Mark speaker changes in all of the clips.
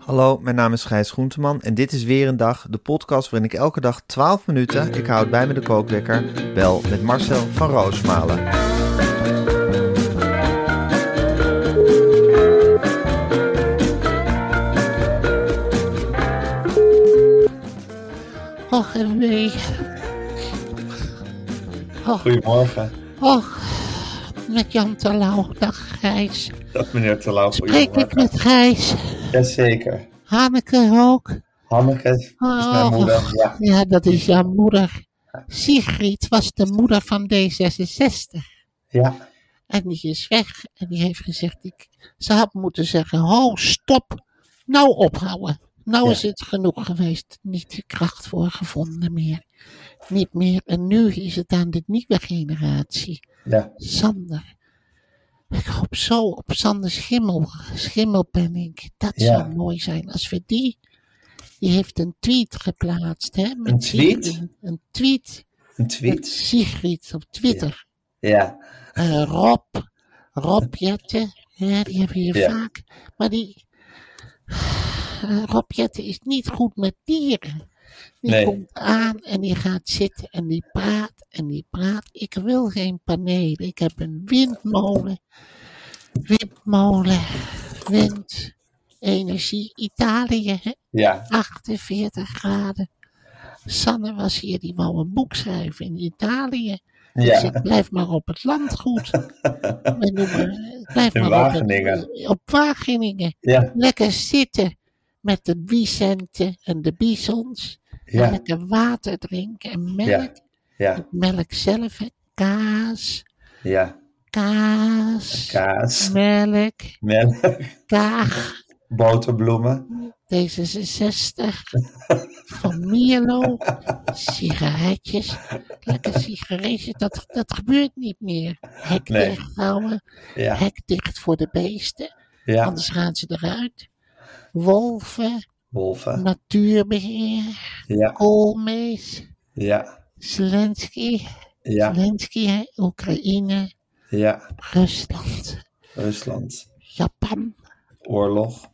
Speaker 1: Hallo, mijn naam is Gijs Groenteman en dit is weer een dag, de podcast waarin ik elke dag 12 minuten, ik houd bij me de kookwekker, bel met Marcel van Roosmalen.
Speaker 2: Och, en nee. Och,
Speaker 3: Goedemorgen.
Speaker 2: och. Met Jan Terlouw. Dag Gijs.
Speaker 3: Dag meneer Terlouw.
Speaker 2: Spreek ik
Speaker 3: Goedemorgen.
Speaker 2: met Gijs.
Speaker 3: Jazeker.
Speaker 2: Hanneke ook.
Speaker 3: Hanneke is mijn moeder. Ja.
Speaker 2: ja, dat is jouw moeder. Sigrid was de moeder van D66.
Speaker 3: ja.
Speaker 2: En die is weg. En die heeft gezegd, ik, ze had moeten zeggen, ho, stop. Nou ophouden. Nou
Speaker 3: Ja.
Speaker 2: is het genoeg geweest. Niet de kracht voor gevonden meer. Niet meer. En nu is het aan de nieuwe generatie.
Speaker 3: Ja.
Speaker 2: Sander. Ik hoop zo op Sander Schimmel, Schimmelpenning. Dat
Speaker 3: Ja.
Speaker 2: zou mooi zijn als we die. Die heeft een tweet geplaatst, hè? met
Speaker 3: Een tweet?
Speaker 2: Sigrid. Een tweet.
Speaker 3: Een
Speaker 2: Met
Speaker 3: tweet.
Speaker 2: Sigrid op Twitter.
Speaker 3: Ja.
Speaker 2: Eh, Rob. Rob Jetten. Ja, die hebben we hier
Speaker 3: Ja.
Speaker 2: vaak. Maar die. eh, Rob Jetten is niet goed met dieren. Die
Speaker 3: Nee.
Speaker 2: komt aan en die gaat zitten en die praat en die praat. Ik wil geen panelen. Ik heb een windmolen. Windmolen. Wind. Energie. Italië. hè?
Speaker 3: Ja.
Speaker 2: 48 graden. Sanne was hier, die wou een boek schrijven in Italië. Dus
Speaker 3: Ja.
Speaker 2: ik blijf maar op het landgoed. We noemen, ik blijf
Speaker 3: In
Speaker 2: maar Op,
Speaker 3: Wageningen.
Speaker 2: het, op Wageningen.
Speaker 3: Ja.
Speaker 2: Lekker zitten met de bicenten en de bisons.
Speaker 3: Ja.
Speaker 2: En lekker water drinken en melk.
Speaker 3: Ja. Ja.
Speaker 2: Melk zelf, hè. kaas,
Speaker 3: Ja.
Speaker 2: kaas,
Speaker 3: Kaas.
Speaker 2: melk,
Speaker 3: Melk.
Speaker 2: kaag.
Speaker 3: Boterbloemen.
Speaker 2: D66, van Mierlo, sigaretjes, lekker sigaretjes, dat, dat gebeurt niet meer. Hek
Speaker 3: Nee.
Speaker 2: dicht houden,
Speaker 3: Ja.
Speaker 2: hek dicht voor de beesten,
Speaker 3: Ja.
Speaker 2: anders gaan ze eruit. Wolven,
Speaker 3: Wolven.
Speaker 2: natuurbeheer,
Speaker 3: Ja.
Speaker 2: koolmees,
Speaker 3: Ja.
Speaker 2: Zelensky,
Speaker 3: Ja.
Speaker 2: Zelensky, hè, Oekraïne,
Speaker 3: Ja.
Speaker 2: Rusland,
Speaker 3: Rusland.
Speaker 2: Japan,
Speaker 3: Oorlog.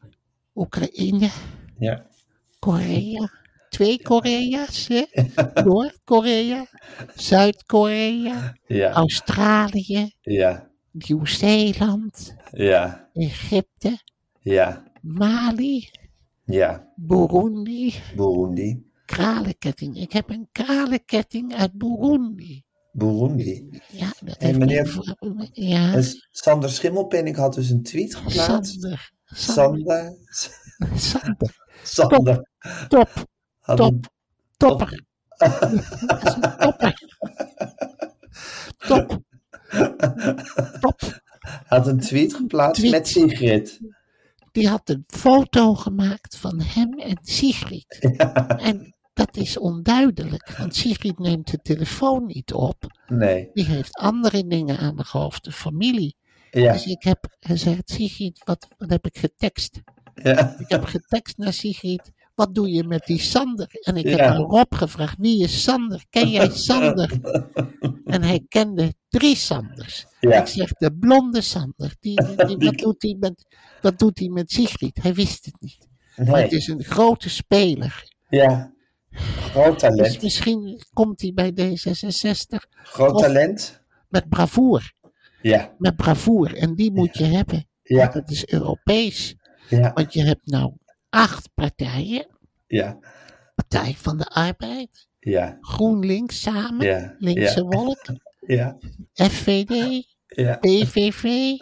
Speaker 2: Oekraïne,
Speaker 3: Ja.
Speaker 2: Korea. Twee Korea's, hè? Noord-Korea, Zuid-Korea,
Speaker 3: Ja.
Speaker 2: Australië,
Speaker 3: Ja.
Speaker 2: Nieuw-Zeeland,
Speaker 3: Ja.
Speaker 2: Egypte,
Speaker 3: Ja.
Speaker 2: Mali,
Speaker 3: Ja.
Speaker 2: Burundi,
Speaker 3: Burundi.
Speaker 2: kralenketting. Ik heb een kralenketting uit Burundi.
Speaker 3: Burundi.
Speaker 2: Ja, dat
Speaker 3: Hey,
Speaker 2: heeft
Speaker 3: meneer-
Speaker 2: mijn vrouw- Ja,
Speaker 3: En Sander Schimmelpenning had dus een tweet geplaatst.
Speaker 2: Hm? Sander. Sander.
Speaker 3: Sander.
Speaker 2: Sander.
Speaker 3: Sander.
Speaker 2: Top,
Speaker 3: Had
Speaker 2: top,
Speaker 3: een
Speaker 2: topper. Dat is een topper. Top, top.
Speaker 3: had een tweet geplaatst
Speaker 2: Tweet.
Speaker 3: met Sigrid.
Speaker 2: die had een foto gemaakt van hem en Sigrid. En dat is onduidelijk, want Sigrid neemt de telefoon niet op.
Speaker 3: Nee.
Speaker 2: Die heeft andere dingen aan haar hoofd, de familie.
Speaker 3: Ja.
Speaker 2: Dus ik heb gezegd, Sigrid, wat, wat heb ik getekst?
Speaker 3: Ja.
Speaker 2: Ik heb getekst naar Sigrid, wat doe je met die Sander? En ik heb
Speaker 3: Ja.
Speaker 2: aan Rob gevraagd, wie is Sander? Ken jij Sander? En hij kende drie Sanders.
Speaker 3: Ja.
Speaker 2: Ik zeg, de blonde Sander, die, die- die- wat, doet hij met, wat doet hij met Sigrid? Hij wist het niet. Maar het
Speaker 3: Nee.
Speaker 2: is een grote speler.
Speaker 3: Ja. Groot
Speaker 2: Dus
Speaker 3: talent.
Speaker 2: misschien komt hij bij D66
Speaker 3: Groot
Speaker 2: Of-
Speaker 3: talent.
Speaker 2: met bravoer.
Speaker 3: Ja,
Speaker 2: met bravoer. En die moet je hebben. Want
Speaker 3: ja,
Speaker 2: dat is Europees.
Speaker 3: ja,
Speaker 2: Want je hebt nou acht partijen.
Speaker 3: ja,
Speaker 2: Partij van de Arbeid,
Speaker 3: ja,
Speaker 2: GroenLinks samen,
Speaker 3: Ja,
Speaker 2: Linkse
Speaker 3: ja.
Speaker 2: Wolk,
Speaker 3: ja,
Speaker 2: FVD,
Speaker 3: ja,
Speaker 2: PVV,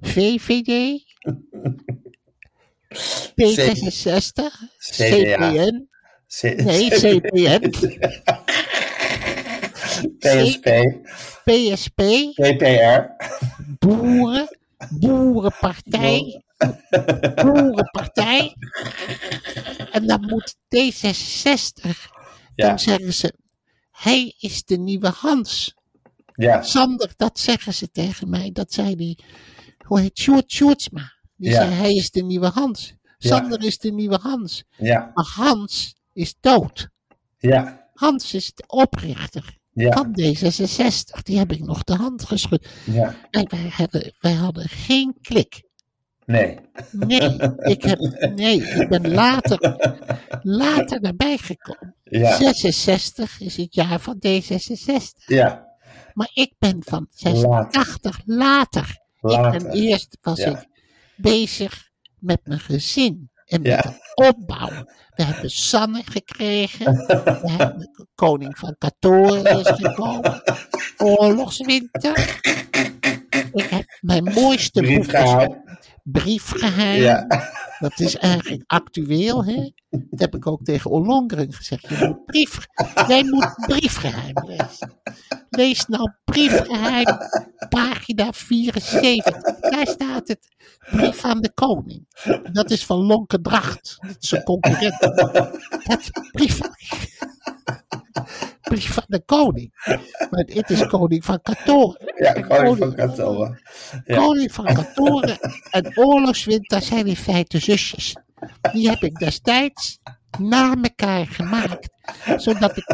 Speaker 2: VVD, D66,
Speaker 3: CDA.
Speaker 2: CPN,
Speaker 3: C-
Speaker 2: nee,
Speaker 3: C-
Speaker 2: CPN,
Speaker 3: PSP,
Speaker 2: PSP,
Speaker 3: PPR,
Speaker 2: Boeren, Boerenpartij, Boerenpartij. En dan moet D66,
Speaker 3: ja,
Speaker 2: dan zeggen ze, hij is de nieuwe Hans.
Speaker 3: ja,
Speaker 2: Sander, dat zeggen ze tegen mij. Dat zei die, hoe heet Sjoerd Sjoerdsma. Die
Speaker 3: Ja.
Speaker 2: zei, hij is de nieuwe Hans. Sander is de nieuwe Hans.
Speaker 3: ja,
Speaker 2: Maar Hans is dood.
Speaker 3: ja,
Speaker 2: Hans is de oprichter
Speaker 3: ja,
Speaker 2: van D66. Die heb ik nog de hand geschud.
Speaker 3: ja,
Speaker 2: En wij hadden, wij hadden geen klik.
Speaker 3: nee,
Speaker 2: Nee, ik, heb, nee, ik ben later, later erbij gekomen.
Speaker 3: ja,
Speaker 2: 66 is het jaar van D66.
Speaker 3: ja,
Speaker 2: Maar ik ben van 86 later. Ik ben
Speaker 3: later,
Speaker 2: eerst was
Speaker 3: Ja.
Speaker 2: ik bezig met mijn gezin en met
Speaker 3: Ja.
Speaker 2: het opbouwen. We hebben Sanne gekregen. We hebben koning van Katoren is gekomen. Oorlogswinter. Ik heb mijn mooiste boek
Speaker 3: briefgehaald,
Speaker 2: briefgeheim.
Speaker 3: ja,
Speaker 2: Dat is eigenlijk actueel, hè? Dat heb ik ook tegen Ollongren gezegd. Je moet brief, jij moet briefgeheim lezen. Lees nou briefgeheim, pagina 74. Daar staat het. Brief aan de koning. Dat is van Lonkendracht. Dat is een concurrent. Dat brief, brief aan de koning. Maar dit is koning van Katoren.
Speaker 3: ja, koning van Katoa, ja,
Speaker 2: Koning van Katoren en Oorlogswinter zijn in feite zusjes. Die heb ik destijds na elkaar gemaakt. Zodat ik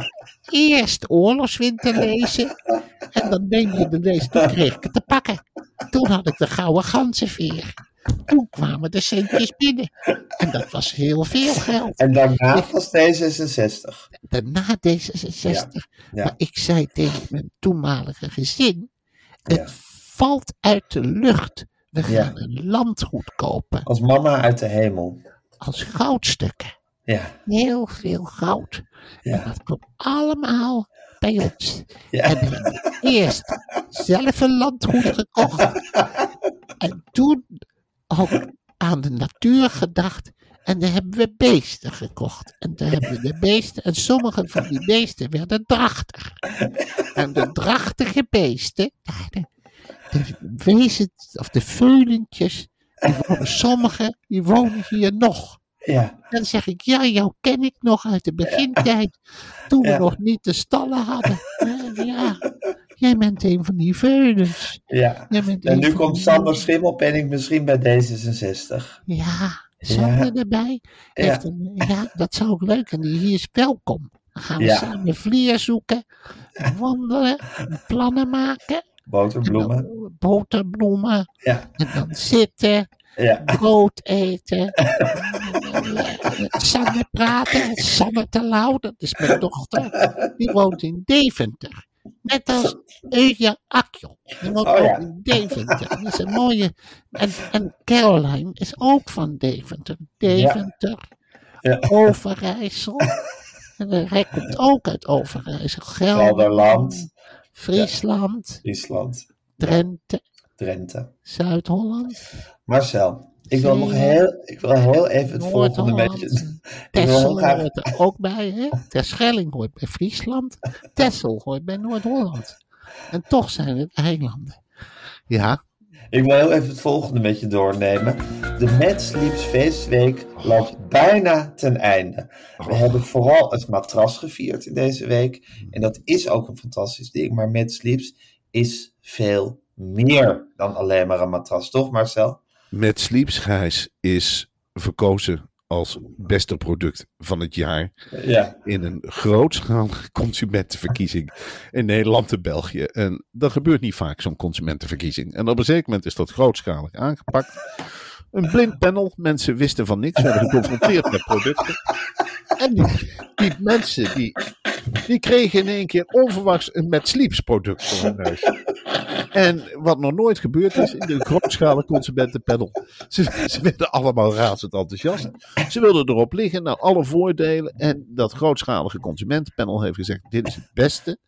Speaker 2: eerst Oorlogswinter lezen en dan neem je de lees. Toen kreeg ik het te pakken. Toen had ik de gouden ganzenveer. Toen kwamen de centjes binnen. En dat was heel veel geld.
Speaker 3: en daarna was D66,
Speaker 2: Daarna D66.
Speaker 3: ja.
Speaker 2: Maar ik zei tegen mijn toenmalige gezin: het
Speaker 3: Ja.
Speaker 2: valt uit de lucht. We gaan
Speaker 3: Ja.
Speaker 2: een landgoed kopen
Speaker 3: als mama uit de hemel,
Speaker 2: als goudstukken.
Speaker 3: ja,
Speaker 2: Heel veel goud. En
Speaker 3: ja,
Speaker 2: dat komt allemaal bij ons.
Speaker 3: Ja.
Speaker 2: En we hebben eerst zelf een landgoed gekocht. En toen ook aan de natuur gedacht. En dan hebben we beesten gekocht. En dan hebben we de beesten. En sommige van die beesten werden drachtig. En de drachtige beesten, ja, de, de wezens of de veulentjes, die wonen, sommige die wonen hier nog.
Speaker 3: ja,
Speaker 2: Dan zeg ik, ja, jou ken ik nog uit de begintijd. Toen we
Speaker 3: Ja.
Speaker 2: nog niet de stallen hadden. Ja, ja, jij bent een van die veulens.
Speaker 3: ja.
Speaker 2: Jij bent
Speaker 3: En
Speaker 2: een
Speaker 3: nu
Speaker 2: van
Speaker 3: komt
Speaker 2: die-
Speaker 3: Sander Schimmelpenning misschien bij D66.
Speaker 2: Ja, Sander erbij. Heeft een- ja, dat zou ook leuk En die hier is welkom. Dan gaan we
Speaker 3: Ja.
Speaker 2: samen vlier zoeken. Wandelen. Plannen maken.
Speaker 3: Boterbloemen.
Speaker 2: en dan Boterbloemen.
Speaker 3: Ja,
Speaker 2: En dan zitten.
Speaker 3: ja,
Speaker 2: brood eten. met Sanne praten. Sanne te Lauw, dat is mijn dochter. Die woont in Deventer. Net als Eja Akjol. Die woont
Speaker 3: Oh
Speaker 2: ook
Speaker 3: ja.
Speaker 2: in Deventer. Dat is een mooie. En, en Caroline is ook van Deventer. Deventer.
Speaker 3: Ja.
Speaker 2: Overijssel. En hij komt ook uit Overijssel.
Speaker 3: Gelderland.
Speaker 2: Gelderland. Friesland.
Speaker 3: Friesland,
Speaker 2: Drenthe.
Speaker 3: Drenthe.
Speaker 2: Zuid-Holland.
Speaker 3: Marcel, ik wil nog
Speaker 2: Zeeland.
Speaker 3: heel, ik wil heel even het volgende
Speaker 2: Noord-Holland.
Speaker 3: beetje. Ik wil heel
Speaker 2: Tessel
Speaker 3: graag,
Speaker 2: hoort er ook bij, hè? Terschelling hoort bij Friesland. Tessel hoort bij Noord-Holland. En toch zijn het eilanden. Ja.
Speaker 3: ik wil heel even het volgende met je doornemen. De Mets Lieps feestweek loopt bijna ten einde. We hebben vooral het matras gevierd in deze week. En dat is ook een fantastisch ding. Maar Mets Lieps is veel meer dan alleen maar een matras, toch Marcel?
Speaker 4: Met Sleepsgijs is verkozen als beste product van het jaar
Speaker 3: Ja,
Speaker 4: in een grootschalige consumentenverkiezing in Nederland en België. En dat gebeurt niet vaak, zo'n consumentenverkiezing. En op een zeker moment is dat grootschalig aangepakt. Een blind panel, mensen wisten van niks, werden geconfronteerd met producten. En die, die mensen, die, die kregen in één keer onverwachts een Met Sleeps product voor hun neus.
Speaker 2: En wat nog nooit gebeurd is in de grootschalige consumentenpanel. Ze, ze werden allemaal razend enthousiast. Ze wilden erop liggen, nou alle voordelen. En dat grootschalige consumentenpanel heeft gezegd: dit is het beste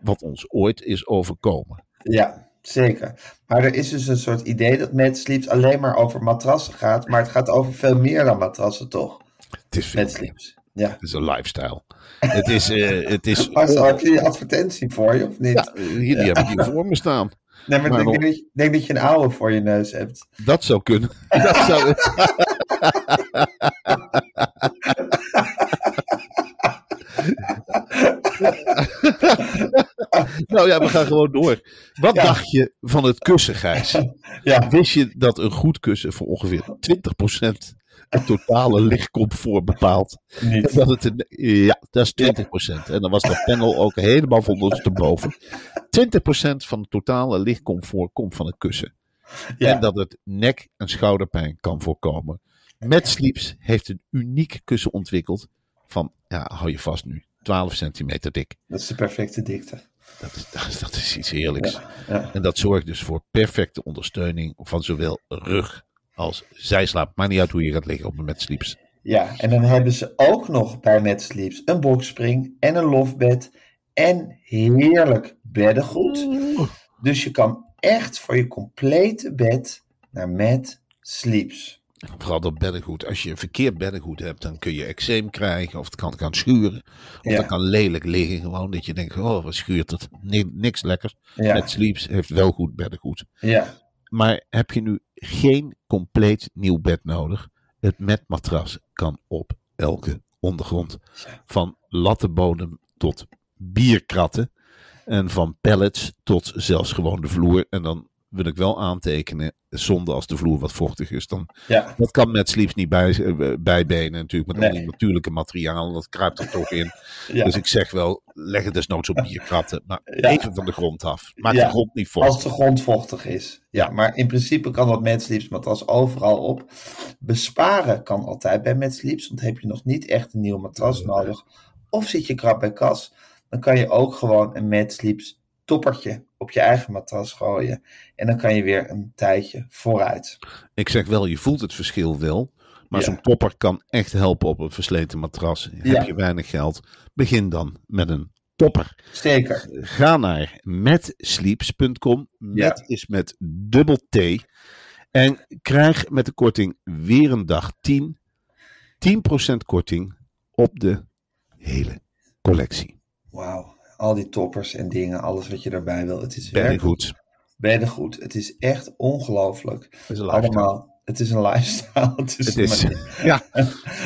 Speaker 2: wat ons ooit is overkomen.
Speaker 3: Ja, zeker. Maar er is dus een soort idee dat Mad Sleeps alleen maar over matrassen gaat. Maar het gaat over veel meer dan matrassen, toch?
Speaker 2: Het is,
Speaker 3: Mad Sleeps. Ja.
Speaker 2: het is een lifestyle. Het is. eh, het is
Speaker 3: Maar zo, heb je die advertentie voor je of niet?
Speaker 2: ja, hier die heb ik hier voor me staan.
Speaker 3: nee, maar,
Speaker 2: maar
Speaker 3: ik
Speaker 2: wel-
Speaker 3: denk, dat je- ik denk dat je een oude voor je neus hebt.
Speaker 2: Dat zou kunnen. Dat zou... nou ja, we gaan gewoon door. Wat dacht je van het kussen, Gijs?
Speaker 3: Ja.
Speaker 2: Wist je dat een goed kussen voor ongeveer 20% het totale lichtcomfort bepaalt?
Speaker 3: Niet.
Speaker 2: En Dat het een- ja, dat is 20%. En dan was dat panel ook helemaal van ondersteboven. 20% van het totale lichtcomfort komt van het kussen.
Speaker 3: Ja.
Speaker 2: En dat het nek- en schouderpijn kan voorkomen. MadSleeps heeft een uniek kussen ontwikkeld van, ja, hou je vast nu, 12 centimeter dik.
Speaker 3: Dat is de perfecte dikte.
Speaker 2: Dat is, dat is, dat is iets heerlijks.
Speaker 3: ja.
Speaker 2: En dat zorgt dus voor perfecte ondersteuning van zowel rug als zijslaap. Maakt niet uit hoe je gaat liggen op een MadSleeps.
Speaker 3: Ja, en dan hebben ze ook nog bij Mad Sleeps een boxspring en een lofbed en heerlijk beddengoed. Dus je kan echt voor je complete bed naar Mad Sleeps.
Speaker 2: Vooral dat beddengoed. Als je een verkeerd beddengoed hebt, dan kun je eczeem krijgen. Of het kan, kan schuren. Of
Speaker 3: Ja.
Speaker 2: dat kan lelijk liggen. Gewoon dat je denkt, oh, wat schuurt het? Ni- niks lekkers.
Speaker 3: Ja.
Speaker 2: MadSleeps heeft wel goed beddengoed.
Speaker 3: Ja,
Speaker 2: Maar heb je nu geen compleet nieuw bed nodig? Het matmatras kan op elke ondergrond. Van lattenbodem tot bierkratten. En van pallets tot zelfs gewoon de vloer. En dan wil ik wel aantekenen, zonde als de vloer wat vochtig is. Dan,
Speaker 3: ja,
Speaker 2: dat kan met sleeps niet bij, eh, bijbenen natuurlijk. Met al
Speaker 3: Nee.
Speaker 2: die natuurlijke materialen, dat kruipt er toch in.
Speaker 3: ja.
Speaker 2: Dus ik zeg wel, leg het desnoods op bierkratten. Maar
Speaker 3: Ja.
Speaker 2: even van de grond af. Maak
Speaker 3: Ja.
Speaker 2: de grond niet vochtig.
Speaker 3: Als de grond vochtig is. Ja, maar in principe kan dat Mad Sleeps matras overal op. Besparen kan altijd bij Mad Sleeps, want heb je nog niet echt een nieuw matras nodig. Of zit je krap bij kas, dan kan je ook gewoon een Mad Sleeps toppertje op je eigen matras gooien. En dan kan je weer een tijdje vooruit.
Speaker 2: Ik zeg wel, je voelt het verschil wel. Maar
Speaker 3: Ja.
Speaker 2: zo'n topper kan echt helpen op een versleten matras.
Speaker 3: Ja.
Speaker 2: Heb je weinig geld, begin dan met een topper.
Speaker 3: Zeker.
Speaker 2: Ga naar metsleeps.com. Met is met dubbel T. En krijg met de korting weer een dag 10. 10% korting op de hele collectie.
Speaker 3: Wauw. Al die toppers en dingen, alles wat je daarbij wil. Het is
Speaker 2: Ben
Speaker 3: werk.
Speaker 2: goed.
Speaker 3: Beddengoed. Het is echt ongelooflijk.
Speaker 2: is een lifestyle.
Speaker 3: Allemaal. Het is een lifestyle. Het is,
Speaker 2: Het
Speaker 3: een
Speaker 2: is,
Speaker 3: manier.
Speaker 2: ja,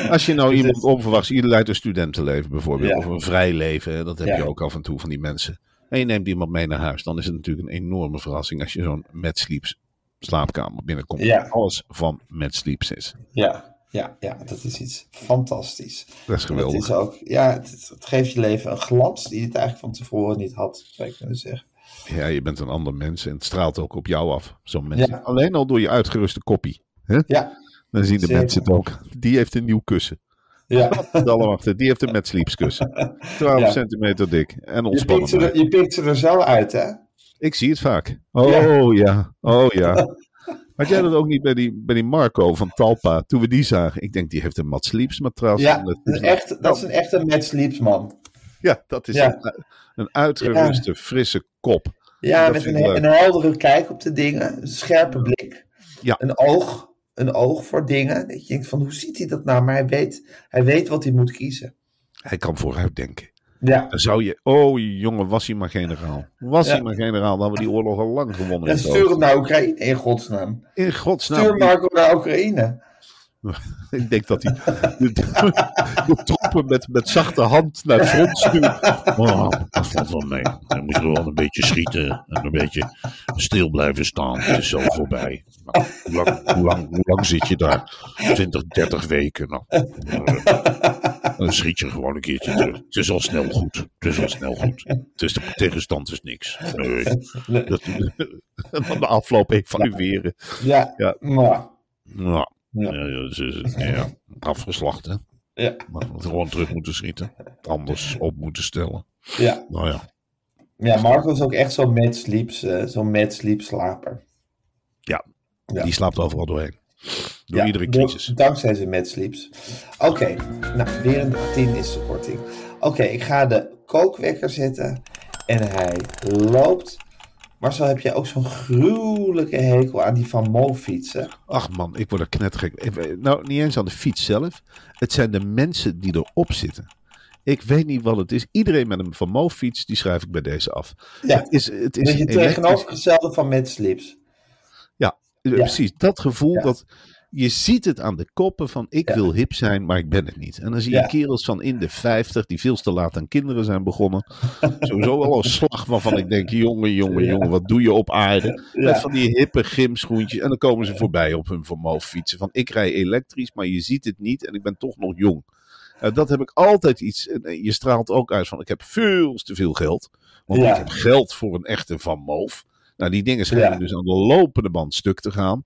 Speaker 2: als je nou
Speaker 3: Dus Het
Speaker 2: iemand
Speaker 3: is-
Speaker 2: onverwachts, je leidt een studentenleven bijvoorbeeld,
Speaker 3: Ja.
Speaker 2: of een vrij leven, hè, dat heb
Speaker 3: Ja.
Speaker 2: je ook af en toe van die mensen. En je neemt iemand mee naar huis, dan is het natuurlijk een enorme verrassing als je zo'n Mad Sleeps slaapkamer binnenkomt.
Speaker 3: Ja.
Speaker 2: Alles van Mad Sleeps is.
Speaker 3: Ja, ja, ja, dat is iets fantastisch.
Speaker 2: Dat is geweldig.
Speaker 3: Het, is ook, ja, het, het geeft je leven een glans die het eigenlijk van tevoren niet had, zou ik kunnen zeggen.
Speaker 2: Ja, je bent een ander mens en het straalt ook op jou af, zo'n mens.
Speaker 3: Ja.
Speaker 2: Alleen al door je uitgeruste koppie. Hè?
Speaker 3: Ja,
Speaker 2: Dan zien de
Speaker 3: Zeker.
Speaker 2: mensen het ook. Die heeft een nieuw kussen.
Speaker 3: ja.
Speaker 2: Dat allemaal achter. Die heeft een Mad Sleeps kussen. 12
Speaker 3: Ja.
Speaker 2: centimeter dik en
Speaker 3: Je pikt,
Speaker 2: ontspannen.
Speaker 3: ze er, je pikt ze er zo uit, hè?
Speaker 2: Ik zie het vaak. Oh ja, oh ja. Had jij dat ook niet bij die, bij die Marco van Talpa, toen we die zagen? Ik denk, die heeft een Mats Sleeps matras.
Speaker 3: Ja,
Speaker 2: En
Speaker 3: dat
Speaker 2: dat
Speaker 3: is,
Speaker 2: is-
Speaker 3: echt, dat is een echte Mad Sleeps man.
Speaker 2: ja, dat is
Speaker 3: Ja.
Speaker 2: Een, een uitgeruste, frisse kop.
Speaker 3: Ja,
Speaker 2: Dat
Speaker 3: met
Speaker 2: vind
Speaker 3: een,
Speaker 2: ik
Speaker 3: he-
Speaker 2: leuk.
Speaker 3: een heldere kijk op de dingen, een scherpe blik,
Speaker 2: Ja.
Speaker 3: een oog, een oog voor dingen. Dat je denkt van, hoe ziet hij dat nou? Maar hij weet, hij weet wat hij moet kiezen.
Speaker 2: Hij kan vooruit denken.
Speaker 3: Ja,
Speaker 2: Dan zou je, oh jongen, was hij maar generaal. Was
Speaker 3: Ja.
Speaker 2: hij maar generaal, dan hadden we die oorlog al lang gewonnen.
Speaker 3: en
Speaker 2: in
Speaker 3: stuur hem
Speaker 2: Oosten.
Speaker 3: naar Oekraïne, in godsnaam.
Speaker 2: In godsnaam.
Speaker 3: Stuur Marco naar Oekraïne.
Speaker 2: Ik denk dat hij de, de troepen met, met zachte hand naar het front stuurt.
Speaker 5: Oh, dat valt wel mee. Hij moet gewoon een beetje schieten en een beetje stil blijven staan. Het is zo voorbij. Nou, hoe, lang, hoe, lang, hoe lang zit je daar? 20, 30 weken. Nou, eh, dan schiet je gewoon een keertje terug. Het is al snel goed. Het is al snel goed. Het is de tegenstand is niks. Nee.
Speaker 2: Dat, en dan de afloop evalueren.
Speaker 3: Ja,
Speaker 2: Ja.
Speaker 3: maar-
Speaker 2: Nou,
Speaker 3: Ja.
Speaker 5: Ja, ja, het is- ja, afgeslacht, hè?
Speaker 3: ja,
Speaker 5: Maar gewoon terug moeten schieten. Anders op moeten stellen.
Speaker 3: ja.
Speaker 5: Nou ja.
Speaker 3: Ja, Marco is ook echt zo'n mad sleeps, eh, zo'n mad sleep slaper.
Speaker 5: Ja,
Speaker 3: Ja.
Speaker 5: die slaapt overal doorheen. Door
Speaker 3: Ja,
Speaker 5: iedere
Speaker 3: door-
Speaker 5: crisis.
Speaker 3: Dankzij zijn mad sleeps. Oké, nou, weer een 10 is de korting. Oké, ik ga de kookwekker zetten en hij loopt. Marcel, heb jij ook zo'n gruwelijke hekel aan die Van Mo fietsen?
Speaker 2: Ach man, ik word er knettergek. Ik- Nou, niet eens aan de fiets zelf. Het zijn de mensen die erop zitten. Ik weet niet wat het is. Iedereen met een Van Moof fiets, die schrijf ik bij deze af.
Speaker 3: Ja.
Speaker 2: Het is, het is
Speaker 3: Dat je
Speaker 2: een elektrisch-
Speaker 3: tegenovergestelde van mad sleeps.
Speaker 2: Ja, eh, precies. Dat gevoel
Speaker 3: Ja.
Speaker 2: dat je ziet het aan de koppen van ik
Speaker 3: Ja.
Speaker 2: wil hip zijn, maar ik ben het niet. En dan zie je
Speaker 3: Ja.
Speaker 2: kerels van in de 50 die veel te laat aan kinderen zijn begonnen. Sowieso al een slag waarvan ik denk, jongen, jongen, jongen, wat doe je op aarde? Met van die hippe gymschoentjes. En dan komen ze voorbij op hun vermogen fietsen. Van ik rij elektrisch, maar je ziet het niet en ik ben toch nog jong. Nou, dat heb ik altijd iets. en, eh, Je straalt ook uit van ik heb veel te veel geld. Want
Speaker 3: Ja.
Speaker 2: ik heb geld voor een echte Van Moof. Nou, die dingen schijnen
Speaker 3: Ja.
Speaker 2: dus aan de lopende band stuk te gaan.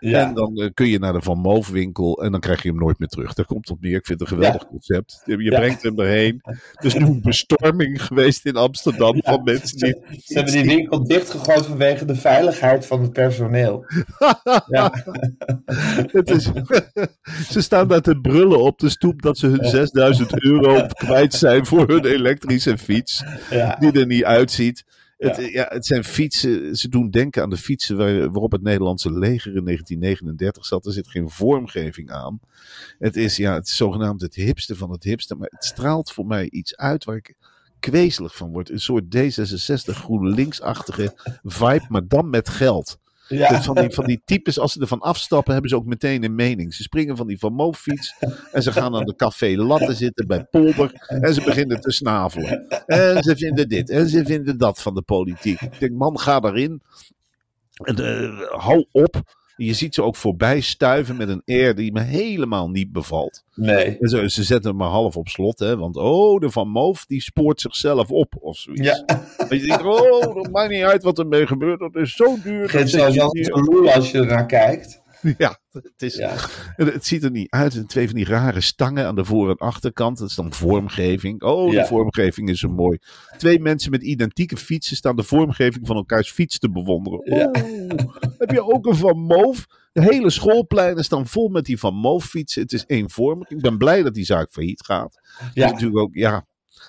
Speaker 3: Ja.
Speaker 2: En dan eh, kun je naar de Van Moof winkel en dan krijg je hem nooit meer terug. Daar komt het op neer. Ik vind het een geweldig concept. Je
Speaker 3: Ja.
Speaker 2: brengt hem erheen. Er is nu een bestorming geweest in Amsterdam van mensen die...
Speaker 3: Ze hebben die winkel dichtgegooid vanwege de veiligheid van het personeel. ja.
Speaker 2: Het is, ze staan daar te brullen op de stoep dat ze hun 6000 euro kwijt zijn voor hun elektrische fiets.
Speaker 3: Ja.
Speaker 2: Die er niet uitziet. Het,
Speaker 3: Ja.
Speaker 2: ja. het zijn fietsen. Ze doen denken aan de fietsen waar- waarop het Nederlandse leger in 1939 zat. Er zit geen vormgeving aan. Het is ja, het is zogenaamd het hipste van het hipste. Maar het straalt voor mij iets uit waar ik kwezelig van word. Een soort D66 GroenLinks-achtige vibe, maar dan met geld.
Speaker 3: Ja.
Speaker 2: Dus van, die, van die types, als ze ervan afstappen, hebben ze ook meteen een mening. Ze springen van die Van Moof-fiets en ze gaan aan de café Latte zitten bij Polder en ze beginnen te snavelen. En ze vinden dit en ze vinden dat van de politiek. Ik denk, man, ga daarin. En, eh, hou op. Je ziet ze ook voorbij stuiven met een air die me helemaal niet bevalt.
Speaker 3: Nee.
Speaker 2: En ze, ze zetten hem maar half op slot, hè? Want oh, de Van Moof die spoort zichzelf op of zoiets.
Speaker 3: Ja.
Speaker 2: Dat je denkt, oh, dat maakt niet uit wat ermee gebeurt. Dat is zo duur.
Speaker 3: Het
Speaker 2: dat
Speaker 3: is sowieso
Speaker 2: zit je
Speaker 3: een loer als je ernaar kijkt.
Speaker 2: hier- Ja, het, is,
Speaker 3: Ja.
Speaker 2: het, het ziet er niet uit. En twee van die rare stangen aan de voor- en achterkant. Dat is dan vormgeving. Oh,
Speaker 3: Ja.
Speaker 2: de vormgeving is zo mooi. Twee mensen met identieke fietsen staan de vormgeving van elkaars fiets te bewonderen.
Speaker 3: Ja.
Speaker 2: Oh, heb je ook een Van Moof? De hele schoolpleinen staan vol met die Van Moof fietsen. Het is eenvormig. Ik ben blij dat die zaak failliet gaat. Ja.
Speaker 3: Ja.
Speaker 2: natuurlijk ook, ja,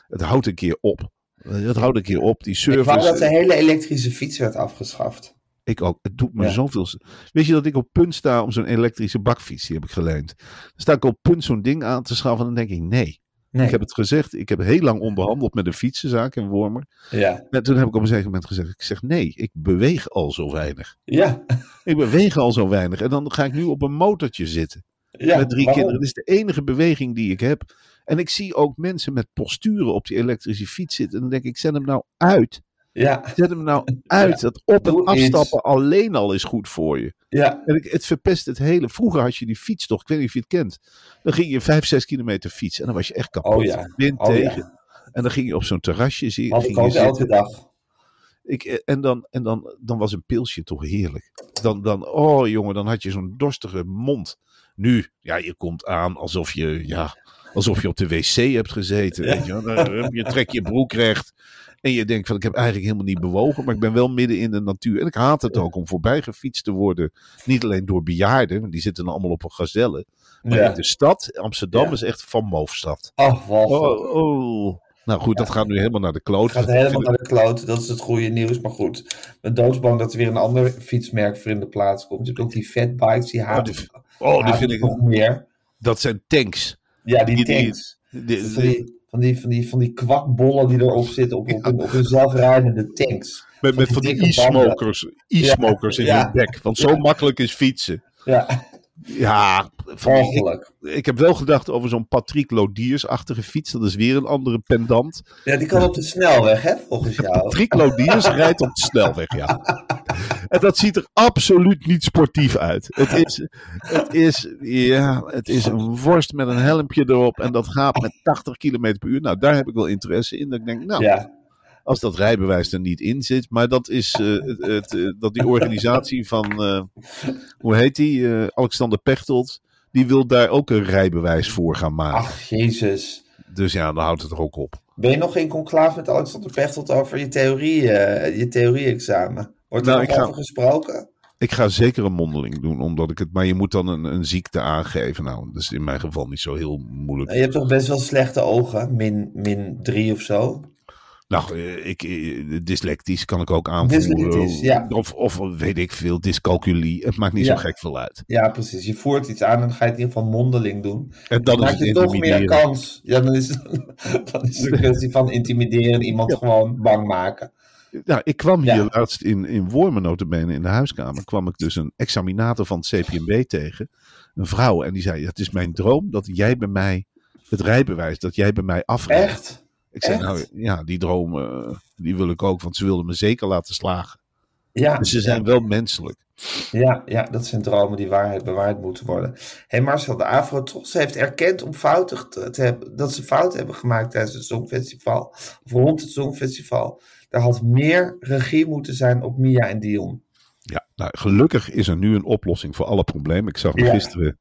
Speaker 2: het houdt een keer op. Het houdt een keer op. Die
Speaker 3: Ik wou
Speaker 2: service.
Speaker 3: dat de hele elektrische fiets werd afgeschaft.
Speaker 2: Ik ook. Het doet me
Speaker 3: Ja.
Speaker 2: zoveel. z- Weet je dat ik op punt sta om zo'n elektrische bakfiets? Die heb ik geleend. Dan sta ik op punt zo'n ding aan te schaffen. En dan denk ik: nee.
Speaker 3: Nee.
Speaker 2: Ik heb het gezegd. Ik heb heel lang onderhandeld met een fietsenzaak in Wormer.
Speaker 3: Ja.
Speaker 2: En toen heb ik op een zeker moment gezegd: ik zeg nee, ik beweeg al zo weinig.
Speaker 3: Ja.
Speaker 2: Ik beweeg al zo weinig. En dan ga ik nu op een motortje zitten.
Speaker 3: ja.
Speaker 2: met drie
Speaker 3: waarom?
Speaker 2: kinderen. Dat is de enige beweging die ik heb. En ik zie ook mensen met posturen op die elektrische fiets zitten. En dan denk ik, zet hem nou uit.
Speaker 3: Ja.
Speaker 2: Zet hem nou uit. Dat op- en
Speaker 3: Doe iets.
Speaker 2: afstappen alleen al is goed voor je.
Speaker 3: Ja.
Speaker 2: En ik, het verpest het hele. Vroeger had je die fiets toch, ik weet niet of je het kent. Dan ging je vijf, zes kilometer fietsen. En dan was je echt kapot.
Speaker 3: Oh ja.
Speaker 2: Wind
Speaker 3: Oh ja.
Speaker 2: tegen. En dan ging je op zo'n terrasje zie-
Speaker 3: Had
Speaker 2: ging
Speaker 3: ik
Speaker 2: je
Speaker 3: ook
Speaker 2: zitten.
Speaker 3: elke dag.
Speaker 2: Ik, eh, en dan, en dan, dan was een pilsje toch heerlijk. Dan, dan, oh jongen, dan had je zo'n dorstige mond. Nu, ja, je komt aan alsof je, ja, alsof je op de wc hebt gezeten. Weet je, wel. Dan, hup, je trekt je broek recht. En je denkt van, ik heb eigenlijk helemaal niet bewogen, maar ik ben wel midden in de natuur. En ik haat het ook om voorbij gefietst te worden. Niet alleen door bejaarden, want die zitten dan allemaal op een gazelle. Maar
Speaker 3: Ja.
Speaker 2: in de stad, Amsterdam
Speaker 3: Ja.
Speaker 2: is echt van moofstad.
Speaker 3: Oh, walgelijk.
Speaker 2: Oh, oh. Nou goed, dat gaat nu helemaal naar de kloot.
Speaker 3: Het gaat helemaal naar de kloot. Dat is het goede nieuws. Maar goed, ben doodsbang dat er weer een ander fietsmerk voor in de plaats komt. Je hebt ook die fatbikes, die haat
Speaker 2: die- Oh, die
Speaker 3: haat
Speaker 2: vind
Speaker 3: ik
Speaker 2: ik...
Speaker 3: nog meer.
Speaker 2: Dat zijn tanks.
Speaker 3: Ja, die,
Speaker 2: Die- die-
Speaker 3: tanks.
Speaker 2: De- de-
Speaker 3: van, die, van, die, van, die, van die kwakbollen die erop zitten op, op, hun- op hun zelfrijdende tanks.
Speaker 2: met, met van die
Speaker 3: dikke banden.
Speaker 2: e-smokers, e-smokers in
Speaker 3: Ja.
Speaker 2: hun bek. Want zo makkelijk is fietsen.
Speaker 3: Ja,
Speaker 2: Ja, van die- ik,
Speaker 3: walgelijk.
Speaker 2: ik heb wel gedacht over zo'n Patrick Lodiers-achtige fiets. Dat is weer een andere pendant.
Speaker 3: Ja, die kan op de snelweg, hè, volgens jou.
Speaker 2: Patrick Lodiers rijdt op de snelweg, ja. En dat ziet er absoluut niet sportief uit. Het is, het is, ja, het is een worst met een helmpje erop. En dat gaat met 80 km per uur. Nou, daar heb ik wel interesse in. Dat ik denk, nou,
Speaker 3: Ja,
Speaker 2: als dat rijbewijs er niet in zit. Maar dat is eh, het, het, eh, dat die organisatie van, eh, hoe heet die, Eh, Alexander Pechtold, die wil daar ook een rijbewijs voor gaan maken.
Speaker 3: ach, jezus.
Speaker 2: Dus ja, dan houdt het er ook op.
Speaker 3: Ben je nog in conclaaf met Alexander Pechtold over je, theorie, eh, je theorie-examen? Wordt er
Speaker 2: Nou,
Speaker 3: nog
Speaker 2: ik ga-
Speaker 3: over gesproken?
Speaker 2: Ik ga zeker een mondeling doen, omdat ik het. Maar je moet dan een, een ziekte aangeven. Nou, dat is in mijn geval niet zo heel moeilijk.
Speaker 3: Nou, Je hebt toch best wel slechte ogen, min, min drie of zo?
Speaker 2: Nou, eh, ik, eh, dyslectisch kan ik ook aanvoeren.
Speaker 3: Dyslectisch, ja.
Speaker 2: of, of weet ik veel, dyscalculie. Het maakt niet
Speaker 3: Ja.
Speaker 2: zo gek veel uit.
Speaker 3: Ja, precies. Je voert iets aan en dan ga je het in ieder geval mondeling doen.
Speaker 2: En dan is
Speaker 3: maak
Speaker 2: het
Speaker 3: je toch meer
Speaker 2: intimideren.
Speaker 3: kans. Ja, dan is, dan is het een kwestie van intimideren en iemand gewoon bang maken.
Speaker 2: Nou, ik kwam hier
Speaker 3: Ja.
Speaker 2: laatst in, in Wormen, notabene, in de huiskamer. kwam ik dus een examinator van het CPMB tegen. Een vrouw. En die zei, het is mijn droom dat jij bij mij het rijbewijs, dat jij bij mij afrijdt.
Speaker 3: Echt?
Speaker 2: Ik zei,
Speaker 3: Echt?
Speaker 2: nou ja, die droom, eh, die wil ik ook. Want ze wilden me zeker laten slagen.
Speaker 3: Ja,
Speaker 2: Dus ze zijn wel menselijk.
Speaker 3: ja, ja, dat zijn dromen die waarheid bewaard moeten worden. Hé hey Marcel, de Afrotros heeft erkend om fouten te, te hebben, dat ze fouten hebben gemaakt tijdens het Songfestival. Of rond het Songfestival. Daar had meer regie moeten zijn op Mia en Dion.
Speaker 2: Ja, nou, gelukkig is er nu een oplossing voor alle problemen. Ik zag hem
Speaker 3: Ja.
Speaker 2: gisteren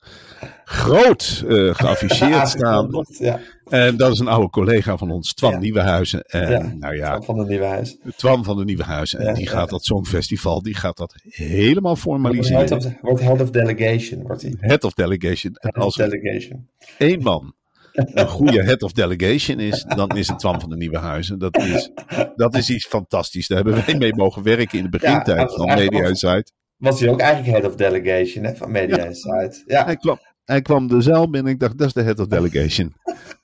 Speaker 2: groot eh, geafficheerd staan.
Speaker 3: Ja,
Speaker 2: En dat is een oude collega van ons, Twan
Speaker 3: Ja.
Speaker 2: Nieuwenhuizen. En
Speaker 3: Ja.
Speaker 2: nou ja,
Speaker 3: ja. van de Nieuwe Huis.
Speaker 2: Twan van de Nieuwenhuizen. En
Speaker 3: Ja,
Speaker 2: die
Speaker 3: ja.
Speaker 2: gaat dat Songfestival, die gaat dat helemaal formaliseren.
Speaker 3: Wordt head of delegation, wordt hij.
Speaker 2: Head of Delegation. En
Speaker 3: Head of
Speaker 2: als er
Speaker 3: delegation.
Speaker 2: één man een goede Head of Delegation is, dan is het Twan van de Nieuwenhuizen. Dat is, dat is iets fantastisch. Daar hebben wij mee mogen werken in de begintijd
Speaker 3: dat is
Speaker 2: van
Speaker 3: eigenlijk
Speaker 2: Media
Speaker 3: ook-
Speaker 2: Insight.
Speaker 3: Was hij ook eigenlijk head of delegation hè, van Media
Speaker 2: Ja.
Speaker 3: Insight? Ja.
Speaker 2: Hij kwam, hij kwam de zaal binnen. Ik dacht, dat is de head of delegation.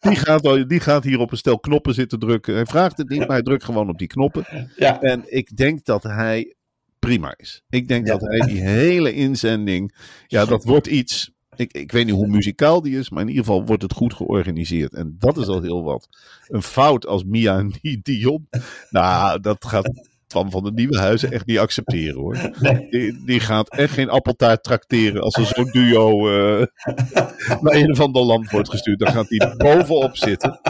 Speaker 2: Die gaat, al- die gaat hier op een stel knoppen zitten drukken. Hij vraagt het niet, maar hij drukt gewoon op die knoppen.
Speaker 3: Ja.
Speaker 2: En ik denk dat hij prima is. Ik denk
Speaker 3: Ja.
Speaker 2: dat hij die hele inzending... Ja, dat wordt iets... Ik, ik weet niet hoe muzikaal die is, maar in ieder geval wordt het goed georganiseerd. En dat is al heel wat. Een fout als Mia en die Dion. Nou, dat gaat Twan van de Nieuwe Huizen echt niet accepteren hoor. Die, die gaat echt geen appeltaart tracteren als er zo'n duo eh, naar een of ander land wordt gestuurd. Dan gaat die bovenop zitten.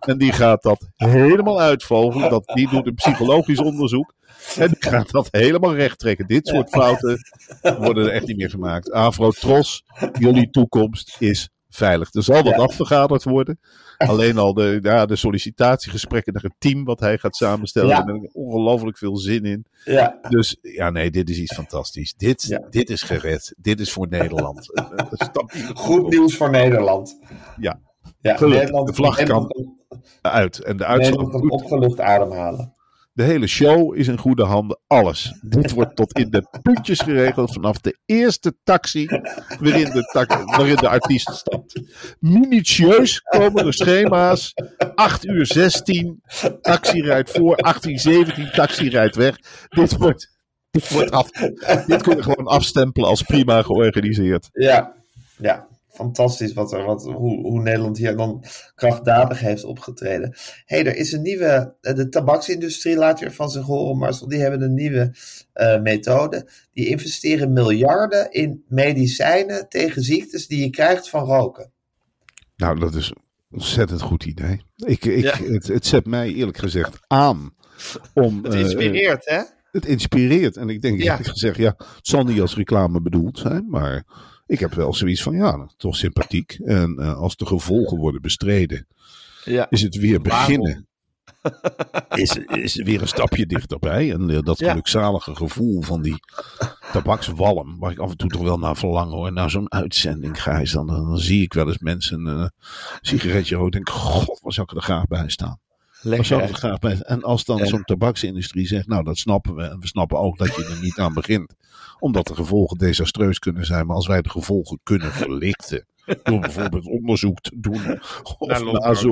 Speaker 2: En die gaat dat helemaal uitvogelen. Dat, die doet een psychologisch onderzoek. En die gaat dat helemaal recht trekken. Dit soort fouten worden er echt niet meer gemaakt. Afro Tros, jullie toekomst is veilig. Er zal wat afvergaderd worden. Alleen al de, ja, de sollicitatiegesprekken naar het team wat hij gaat samenstellen.
Speaker 3: Ja.
Speaker 2: Daar ben ik ongelooflijk veel zin in.
Speaker 3: ja.
Speaker 2: Dus ja, nee, dit is iets fantastisch. Dit,
Speaker 3: Ja.
Speaker 2: dit is gered. Dit is voor Nederland. Een- een stabiele
Speaker 3: Goed nieuws voor Nederland.
Speaker 2: Ja.
Speaker 3: ja
Speaker 2: Gelukkig,
Speaker 3: Nederland,
Speaker 2: de vlag kan
Speaker 3: Nederland
Speaker 2: Uit. En de
Speaker 3: Nederland
Speaker 2: uitslag.
Speaker 3: kan
Speaker 2: goed.
Speaker 3: opgelucht ademhalen.
Speaker 2: De hele show is in goede handen. Alles. Dit wordt tot in de puntjes geregeld vanaf de eerste taxi waarin de, tak- waarin de artiest stapt. Minutieus komen de schema's. 8 uur 16, taxi rijdt voor. 18, 17, taxi rijdt weg. Dit wordt, dit wordt af. Dit kun je gewoon afstempelen als prima georganiseerd.
Speaker 3: Ja, ja. Fantastisch wat er, wat, hoe, hoe Nederland hier dan krachtdadig heeft opgetreden. Hé, hey, er is een nieuwe. eh, De tabaksindustrie laat weer van zich horen, Marcel. Die hebben een nieuwe eh, methode. Die investeren miljarden in medicijnen tegen ziektes die je krijgt van roken.
Speaker 2: Nou, dat is een ontzettend goed idee. Ik, ik,
Speaker 3: Ja.
Speaker 2: het, het zet mij eerlijk gezegd aan om.
Speaker 3: Het
Speaker 2: eh,
Speaker 3: inspireert, hè?
Speaker 2: het inspireert. En ik denk
Speaker 3: Ja.
Speaker 2: eerlijk gezegd, ja, het zal niet als reclame bedoeld zijn, maar ik heb wel zoiets van, ja, toch sympathiek. En eh, als de gevolgen worden bestreden,
Speaker 3: Ja.
Speaker 2: is het weer
Speaker 3: Waarom?
Speaker 2: beginnen. Is, is er weer een stapje dichterbij. En eh, dat
Speaker 3: Ja.
Speaker 2: gelukzalige gevoel van die tabakswalm, waar ik af en toe toch wel naar verlang hoor. Naar zo'n uitzending, Gijs, dan, dan zie ik wel eens mensen eh, een sigaretje roken. denk ik, god, waar zou ik er graag bij staan? Waar zou ik er graag bij En als dan
Speaker 3: Ja.
Speaker 2: zo'n tabaksindustrie zegt, nou dat snappen we. En we snappen ook dat je er niet aan begint. Omdat de gevolgen desastreus kunnen zijn. Maar als wij de gevolgen kunnen verlichten. Door bijvoorbeeld onderzoek te doen. Of na zo,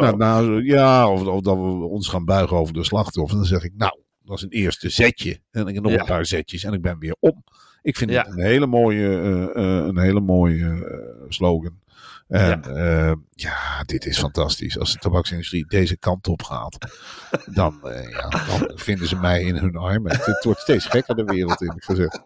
Speaker 2: nou, nou, ja, of, of dat we ons gaan buigen over de slachtoffer. Dan zeg ik, nou, dat is een eerste zetje. En ik nog
Speaker 3: Ja.
Speaker 2: een paar zetjes en ik ben weer om. Ik vind
Speaker 3: Ja.
Speaker 2: het een hele mooie, eh, eh, een hele mooie eh, slogan. En ja. ja, dit is fantastisch. Als de tabaksindustrie deze kant op gaat, dan, eh, ja, dan vinden ze mij in hun armen. Het wordt steeds gekker de wereld in, gezegd.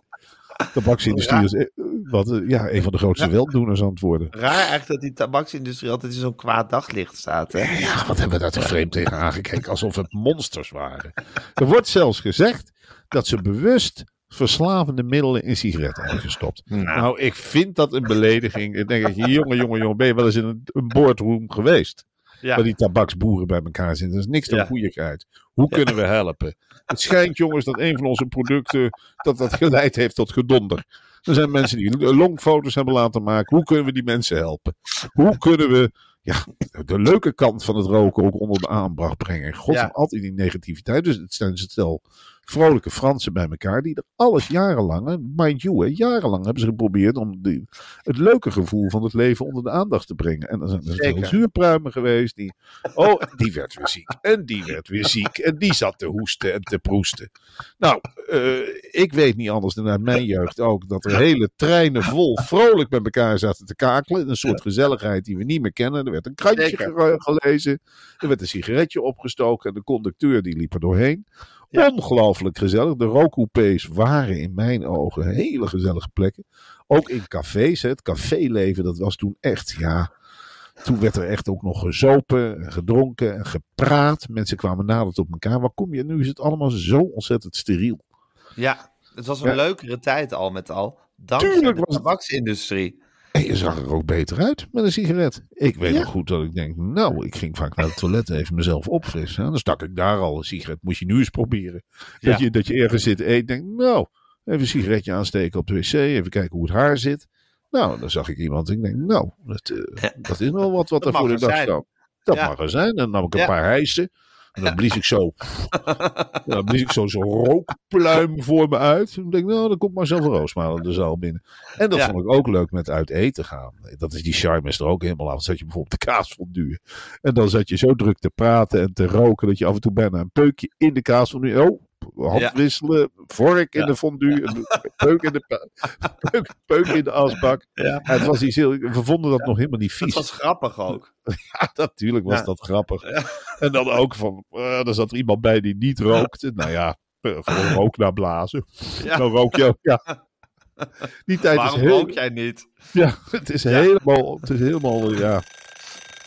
Speaker 2: De tabaksindustrie is eh, wat, eh, ja, een van de grootste weldoeners aan het worden.
Speaker 3: Raar eigenlijk dat die tabaksindustrie altijd in zo'n kwaad daglicht staat. Hè?
Speaker 2: Ja, wat hebben we daar te vreemd tegen aangekeken? Alsof het monsters waren. Er wordt zelfs gezegd dat ze bewust verslavende middelen in sigaretten hebben gestopt. Nou, ik vind dat een belediging. Ik denk, dat je, jongen, jongen, jongen, ben je wel eens in een, een boardroom geweest?
Speaker 6: Ja.
Speaker 2: waar die tabaksboeren bij elkaar zitten. Dat is niks dan
Speaker 6: Ja.
Speaker 2: goeierheid. Hoe kunnen we helpen? Het schijnt, jongens, dat een van onze producten dat dat geleid heeft tot gedonder. Er zijn mensen die longfoto's hebben laten maken. Hoe kunnen we die mensen helpen? Hoe kunnen we ja, de leuke kant van het roken ook onder de aanbracht brengen? God,
Speaker 6: Ja.
Speaker 2: altijd die negativiteit. Dus het zijn stel vrolijke Fransen bij elkaar die er alles jarenlang, hè, mind you, hè, jarenlang hebben ze geprobeerd om die, het leuke gevoel van het leven onder de aandacht te brengen. En dan zijn er
Speaker 3: Zeker.
Speaker 2: veel zuurpruimen geweest die, oh, en die werd weer ziek en die werd weer ziek en die zat te hoesten en te proesten. Nou, eh, ik weet niet anders dan uit mijn jeugd ook dat er hele treinen vol vrolijk met elkaar zaten te kakelen. Een soort gezelligheid die we niet meer kennen. Er werd een krantje
Speaker 6: Zeker.
Speaker 2: ge- gelezen, er werd een sigaretje opgestoken en de conducteur die liep er doorheen.
Speaker 6: Ja.
Speaker 2: Ongelooflijk gezellig. De rookcoupés waren in mijn ogen hele gezellige plekken. Ook in cafés. Hè. Het caféleven, dat was toen echt, ja. Toen werd er echt ook nog gezopen, en gedronken en gepraat. Mensen kwamen nader tot elkaar. Waar kom je? Nu is het allemaal zo ontzettend steriel.
Speaker 3: Ja, het was een
Speaker 2: Ja.
Speaker 3: leukere tijd al met al. Dankzij
Speaker 2: Tuurlijk
Speaker 3: de
Speaker 2: was het-
Speaker 3: tabaksindustrie.
Speaker 2: En je zag er ook beter uit met een sigaret. Ik weet nog goed dat ik denk, nou, ik ging vaak naar het toilet even mezelf opfrissen. En dan stak ik daar al een sigaret. Moet je nu eens proberen. Dat,
Speaker 6: Ja.
Speaker 2: je, dat je ergens zit en denkt, nou, even een sigaretje aansteken op de wc. Even kijken hoe het haar zit. Nou, dan zag ik iemand en ik denk, nou, dat, eh, dat is wel wat, wat
Speaker 3: Dat
Speaker 2: er voor
Speaker 3: mag
Speaker 2: de
Speaker 3: er
Speaker 2: dag
Speaker 3: zijn.
Speaker 2: staat. Dat
Speaker 3: Ja.
Speaker 2: mag er zijn. En dan nam ik een
Speaker 3: Ja.
Speaker 2: paar hijsen. En dan blies ik zo, dan blies ik zo zo'n rookpluim voor me uit. En ik denk, nou, dan komt Marcel van Roosmalen de zaal binnen. En dat
Speaker 3: Ja.
Speaker 2: vond ik ook leuk met uit eten gaan. Dat is die charme is er ook helemaal af. Dan zat je bijvoorbeeld de kaasfondue. En dan zat je zo druk te praten en te roken dat je af en toe bijna een peukje in de kaasfondue. Oh, hand
Speaker 3: Ja.
Speaker 2: wisselen, vork in
Speaker 3: Ja.
Speaker 2: de fondue, een peuk in de, pa- peuk, peuk in de asbak.
Speaker 3: Ja.
Speaker 2: En het was iets heel, we vonden dat nog helemaal niet
Speaker 3: Dat
Speaker 2: vies.
Speaker 3: was grappig ook.
Speaker 2: Ja, natuurlijk was
Speaker 3: Ja.
Speaker 2: dat grappig. En dan ook van, eh er zat er iemand bij die niet rookte. Nou ja, eh, gewoon rook naar blazen.
Speaker 3: Ja.
Speaker 2: Dan rook je ook, ja. Die tijd
Speaker 3: Waarom
Speaker 2: is heel...
Speaker 3: rook jij niet?
Speaker 2: Ja, het is helemaal, het is helemaal, ja,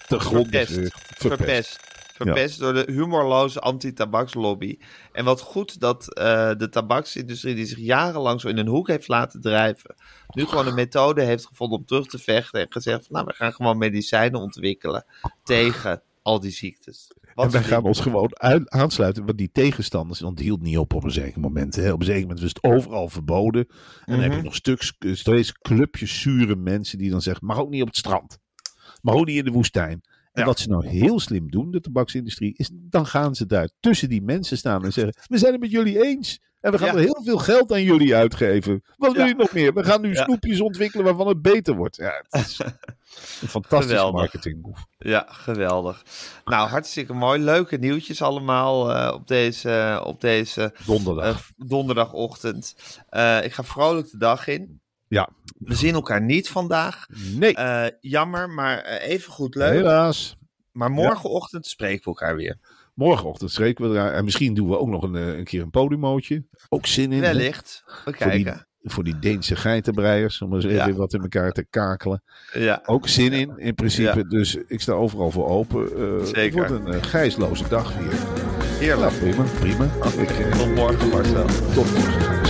Speaker 2: te grond dus
Speaker 3: Verpest.
Speaker 2: verpest.
Speaker 3: Verpest. Verpest door de humorloze anti-tabakslobby. En wat goed dat eh, de tabaksindustrie, die zich jarenlang zo in een hoek heeft laten drijven, nu gewoon een methode heeft gevonden om terug te vechten. En gezegd: van, Nou, we gaan gewoon medicijnen ontwikkelen tegen al die ziektes. Wat
Speaker 2: En wij
Speaker 3: een
Speaker 2: gaan
Speaker 3: ding.
Speaker 2: ons gewoon uit- aansluiten, want die tegenstanders, want die hield niet op op een zeker moment. Hè. Op een zeker moment was het overal verboden. En dan
Speaker 3: Mhm.
Speaker 2: heb je nog stuks, eh, steeds clubjes zure mensen die dan zeggen, mag ook niet op het strand. Mag ook niet in de woestijn. En
Speaker 3: Ja.
Speaker 2: wat ze nou heel slim doen, de tabaksindustrie, is dan gaan ze daar tussen die mensen staan en zeggen, we zijn het met jullie eens. En we gaan
Speaker 3: Ja.
Speaker 2: er heel veel geld aan jullie uitgeven. Wat wil
Speaker 3: Ja.
Speaker 2: je nog meer? We gaan nu
Speaker 3: Ja.
Speaker 2: snoepjes ontwikkelen waarvan het beter wordt. Ja, het is een fantastische
Speaker 3: Geweldig.
Speaker 2: marketingmove.
Speaker 3: Ja, geweldig. Nou, hartstikke mooi. Leuke nieuwtjes allemaal eh, op deze, op deze
Speaker 2: Donderdag.
Speaker 3: eh, donderdagochtend. Eh, ik ga vrolijk de dag in.
Speaker 2: Ja.
Speaker 3: We zien elkaar niet vandaag.
Speaker 2: Nee,
Speaker 3: Eh, jammer, maar eh, even goed leuk.
Speaker 2: helaas.
Speaker 3: Maar morgenochtend spreken we elkaar weer.
Speaker 2: Morgenochtend spreken we daar. En misschien doen we ook nog een, eh, een keer een podiumootje. Ook zin in. hè?
Speaker 3: Wellicht. We
Speaker 2: Voor die,
Speaker 3: kijken.
Speaker 2: voor die Deense geitenbreiers. Om eens even
Speaker 3: Ja.
Speaker 2: wat in elkaar te kakelen.
Speaker 3: Ja.
Speaker 2: Ook zin in, in principe.
Speaker 3: Ja.
Speaker 2: Dus ik sta overal voor open. Eh, Het
Speaker 3: Zeker.
Speaker 2: wordt een eh, gijsloze dag hier.
Speaker 3: Heerlijk.
Speaker 2: Nou, prima, prima. Ik, eh,
Speaker 3: Tot morgen, Marcel.
Speaker 2: tot morgen, Gijs.